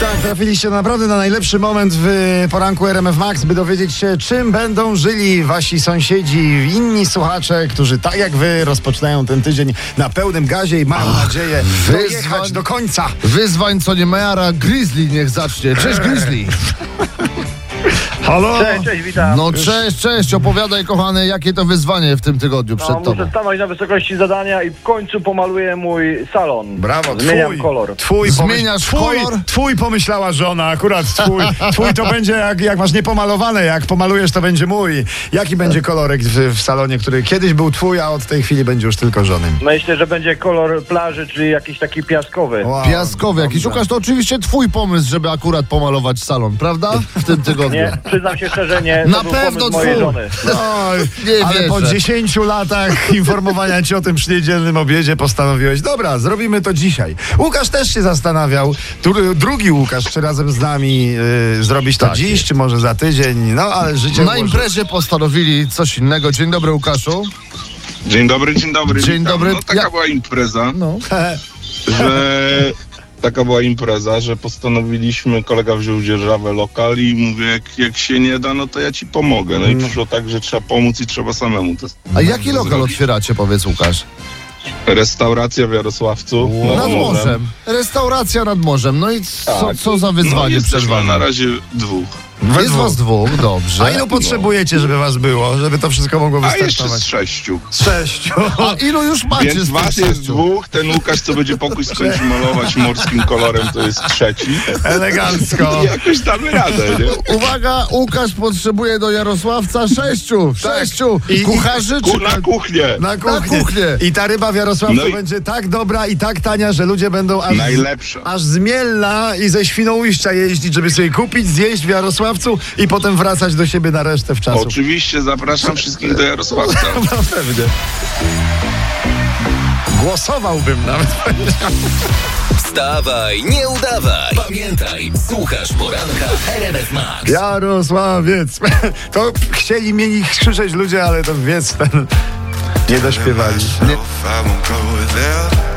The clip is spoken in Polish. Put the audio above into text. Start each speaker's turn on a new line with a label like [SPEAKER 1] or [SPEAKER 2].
[SPEAKER 1] Tak, Trafiliście naprawdę na najlepszy moment w poranku RMF Max, by dowiedzieć się, czym będą żyli wasi sąsiedzi, inni słuchacze, którzy tak jak wy rozpoczynają ten tydzień na pełnym gazie i mają nadzieję
[SPEAKER 2] wyzwań-
[SPEAKER 1] dojechać do końca.
[SPEAKER 2] Wyzwań co nie Mayara, Grizzly niech zacznie. Cześć Grizzly.
[SPEAKER 1] Halo!
[SPEAKER 3] Cześć, cześć, witam.
[SPEAKER 2] No cześć, cześć, opowiadaj kochany, jakie to wyzwanie w tym tygodniu
[SPEAKER 3] No,
[SPEAKER 2] przed
[SPEAKER 3] muszę
[SPEAKER 2] tobą.
[SPEAKER 3] stanąć na wysokości zadania i w końcu pomaluję mój salon.
[SPEAKER 1] Brawo,
[SPEAKER 3] Zmieniam
[SPEAKER 1] twój,
[SPEAKER 3] kolor.
[SPEAKER 1] Twój
[SPEAKER 2] Zmieniasz
[SPEAKER 1] twój,
[SPEAKER 2] kolor?
[SPEAKER 1] Twój pomyślała żona, akurat twój. Twój to będzie jak, jak masz niepomalowane, jak pomalujesz to będzie mój. Jaki będzie kolorek w, w salonie, który kiedyś był twój, a od tej chwili będzie już tylko żonym?
[SPEAKER 3] Myślę, że będzie kolor plaży, czyli jakiś taki piaskowy.
[SPEAKER 1] Wow,
[SPEAKER 2] Piaskowy jakiś.
[SPEAKER 1] dobra.
[SPEAKER 2] Łukasz, to oczywiście twój pomysł, żeby akurat pomalować salon, prawda? W tym tygodniu.
[SPEAKER 3] Nie, przyznam się szczerze, nie.
[SPEAKER 2] Na
[SPEAKER 3] to był
[SPEAKER 2] pewno
[SPEAKER 3] pomysł mojej
[SPEAKER 2] twój.
[SPEAKER 3] żony.
[SPEAKER 1] No,
[SPEAKER 2] Nie
[SPEAKER 1] ale po
[SPEAKER 2] wierzę.
[SPEAKER 1] 10 latach informowania ci o tym przy niedzielnym obiedzie postanowiłeś, dobra, zrobimy to dzisiaj. Łukasz też się zastanawiał, tu- drugi Łukasz, czy razem z nami y, zrobić to
[SPEAKER 2] Tak
[SPEAKER 1] dziś,
[SPEAKER 2] jest.
[SPEAKER 1] czy może za tydzień, no ale życie
[SPEAKER 2] Na
[SPEAKER 1] ułoży-
[SPEAKER 2] imprezie postanowili coś innego. Dzień dobry Łukaszu.
[SPEAKER 4] Dzień dobry, dzień dobry.
[SPEAKER 2] Dzień
[SPEAKER 4] witam.
[SPEAKER 2] dobry.
[SPEAKER 4] No taka
[SPEAKER 2] Ja-
[SPEAKER 4] była impreza,
[SPEAKER 2] No.
[SPEAKER 4] że taka była impreza, że postanowiliśmy, kolega wziął dzierżawę lokal i mówię, jak, jak się nie da, no to ja ci pomogę. No i przyszło tak, że trzeba pomóc i trzeba samemu. To jest
[SPEAKER 2] A jaki lokal
[SPEAKER 4] zrobić.
[SPEAKER 2] otwieracie, powiedz Łukasz?
[SPEAKER 4] restauracja w Jarosławcu. No,
[SPEAKER 2] Nad morzem. Restauracja nad morzem. No i co,
[SPEAKER 4] Tak.
[SPEAKER 2] co za
[SPEAKER 4] No,
[SPEAKER 2] wyzwanie
[SPEAKER 4] jesteśmy na
[SPEAKER 2] przerwane?
[SPEAKER 4] razie dwóch.
[SPEAKER 1] We
[SPEAKER 2] Jest
[SPEAKER 1] dwóch.
[SPEAKER 2] was dwóch, dobrze.
[SPEAKER 1] A ilu potrzebujecie, żeby was było, żeby to wszystko mogło
[SPEAKER 4] A jeszcze z
[SPEAKER 1] wystartować?
[SPEAKER 4] sześciu.
[SPEAKER 1] Z sześciu.
[SPEAKER 2] A ilu już macie
[SPEAKER 4] Więc
[SPEAKER 2] z tych
[SPEAKER 4] was jest
[SPEAKER 2] sześciu?
[SPEAKER 4] dwóch, ten Łukasz, co będzie pokój skończy malować morskim kolorem, to jest trzeci.
[SPEAKER 1] Elegancko.
[SPEAKER 4] I jakoś damy radę, nie?
[SPEAKER 2] Uwaga, Łukasz potrzebuje do Jarosławca sześciu. Sześciu
[SPEAKER 1] Tak. I- i-
[SPEAKER 2] kucharzy
[SPEAKER 4] Ku,
[SPEAKER 2] czy...
[SPEAKER 4] na kuchnię.
[SPEAKER 1] Na kuchnię.
[SPEAKER 2] kuchnię.
[SPEAKER 1] I ta ryba w Jarosławcu
[SPEAKER 4] No i-
[SPEAKER 1] będzie tak dobra i tak tania, że ludzie będą aż,
[SPEAKER 4] Najlepsza.
[SPEAKER 1] aż z Mielna i ze Świnoujścia jeździć, żeby sobie kupić, zjeść w Jarosławcu i potem wracać do siebie na resztę w czasu.
[SPEAKER 4] Oczywiście zapraszam wszystkich do Jarosławca.
[SPEAKER 1] Na pewno. Głosowałbym nawet.
[SPEAKER 5] Wstawaj, nie udawaj. Pamiętaj, słuchasz poranka RMF Max.
[SPEAKER 1] Jarosławiec. To chcieli mieli krzyczeć ludzie, ale to wiec ten nie dośpiewali.
[SPEAKER 6] myself, I won't go there.